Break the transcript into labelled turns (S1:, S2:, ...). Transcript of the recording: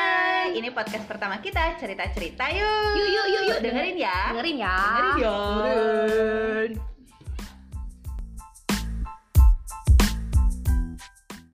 S1: Hai, ini podcast pertama kita, cerita-cerita yuk.
S2: Yuk, yuk, yuk, yuk.
S1: dengerin ya.
S2: dengerin ya
S1: Dengerin ya.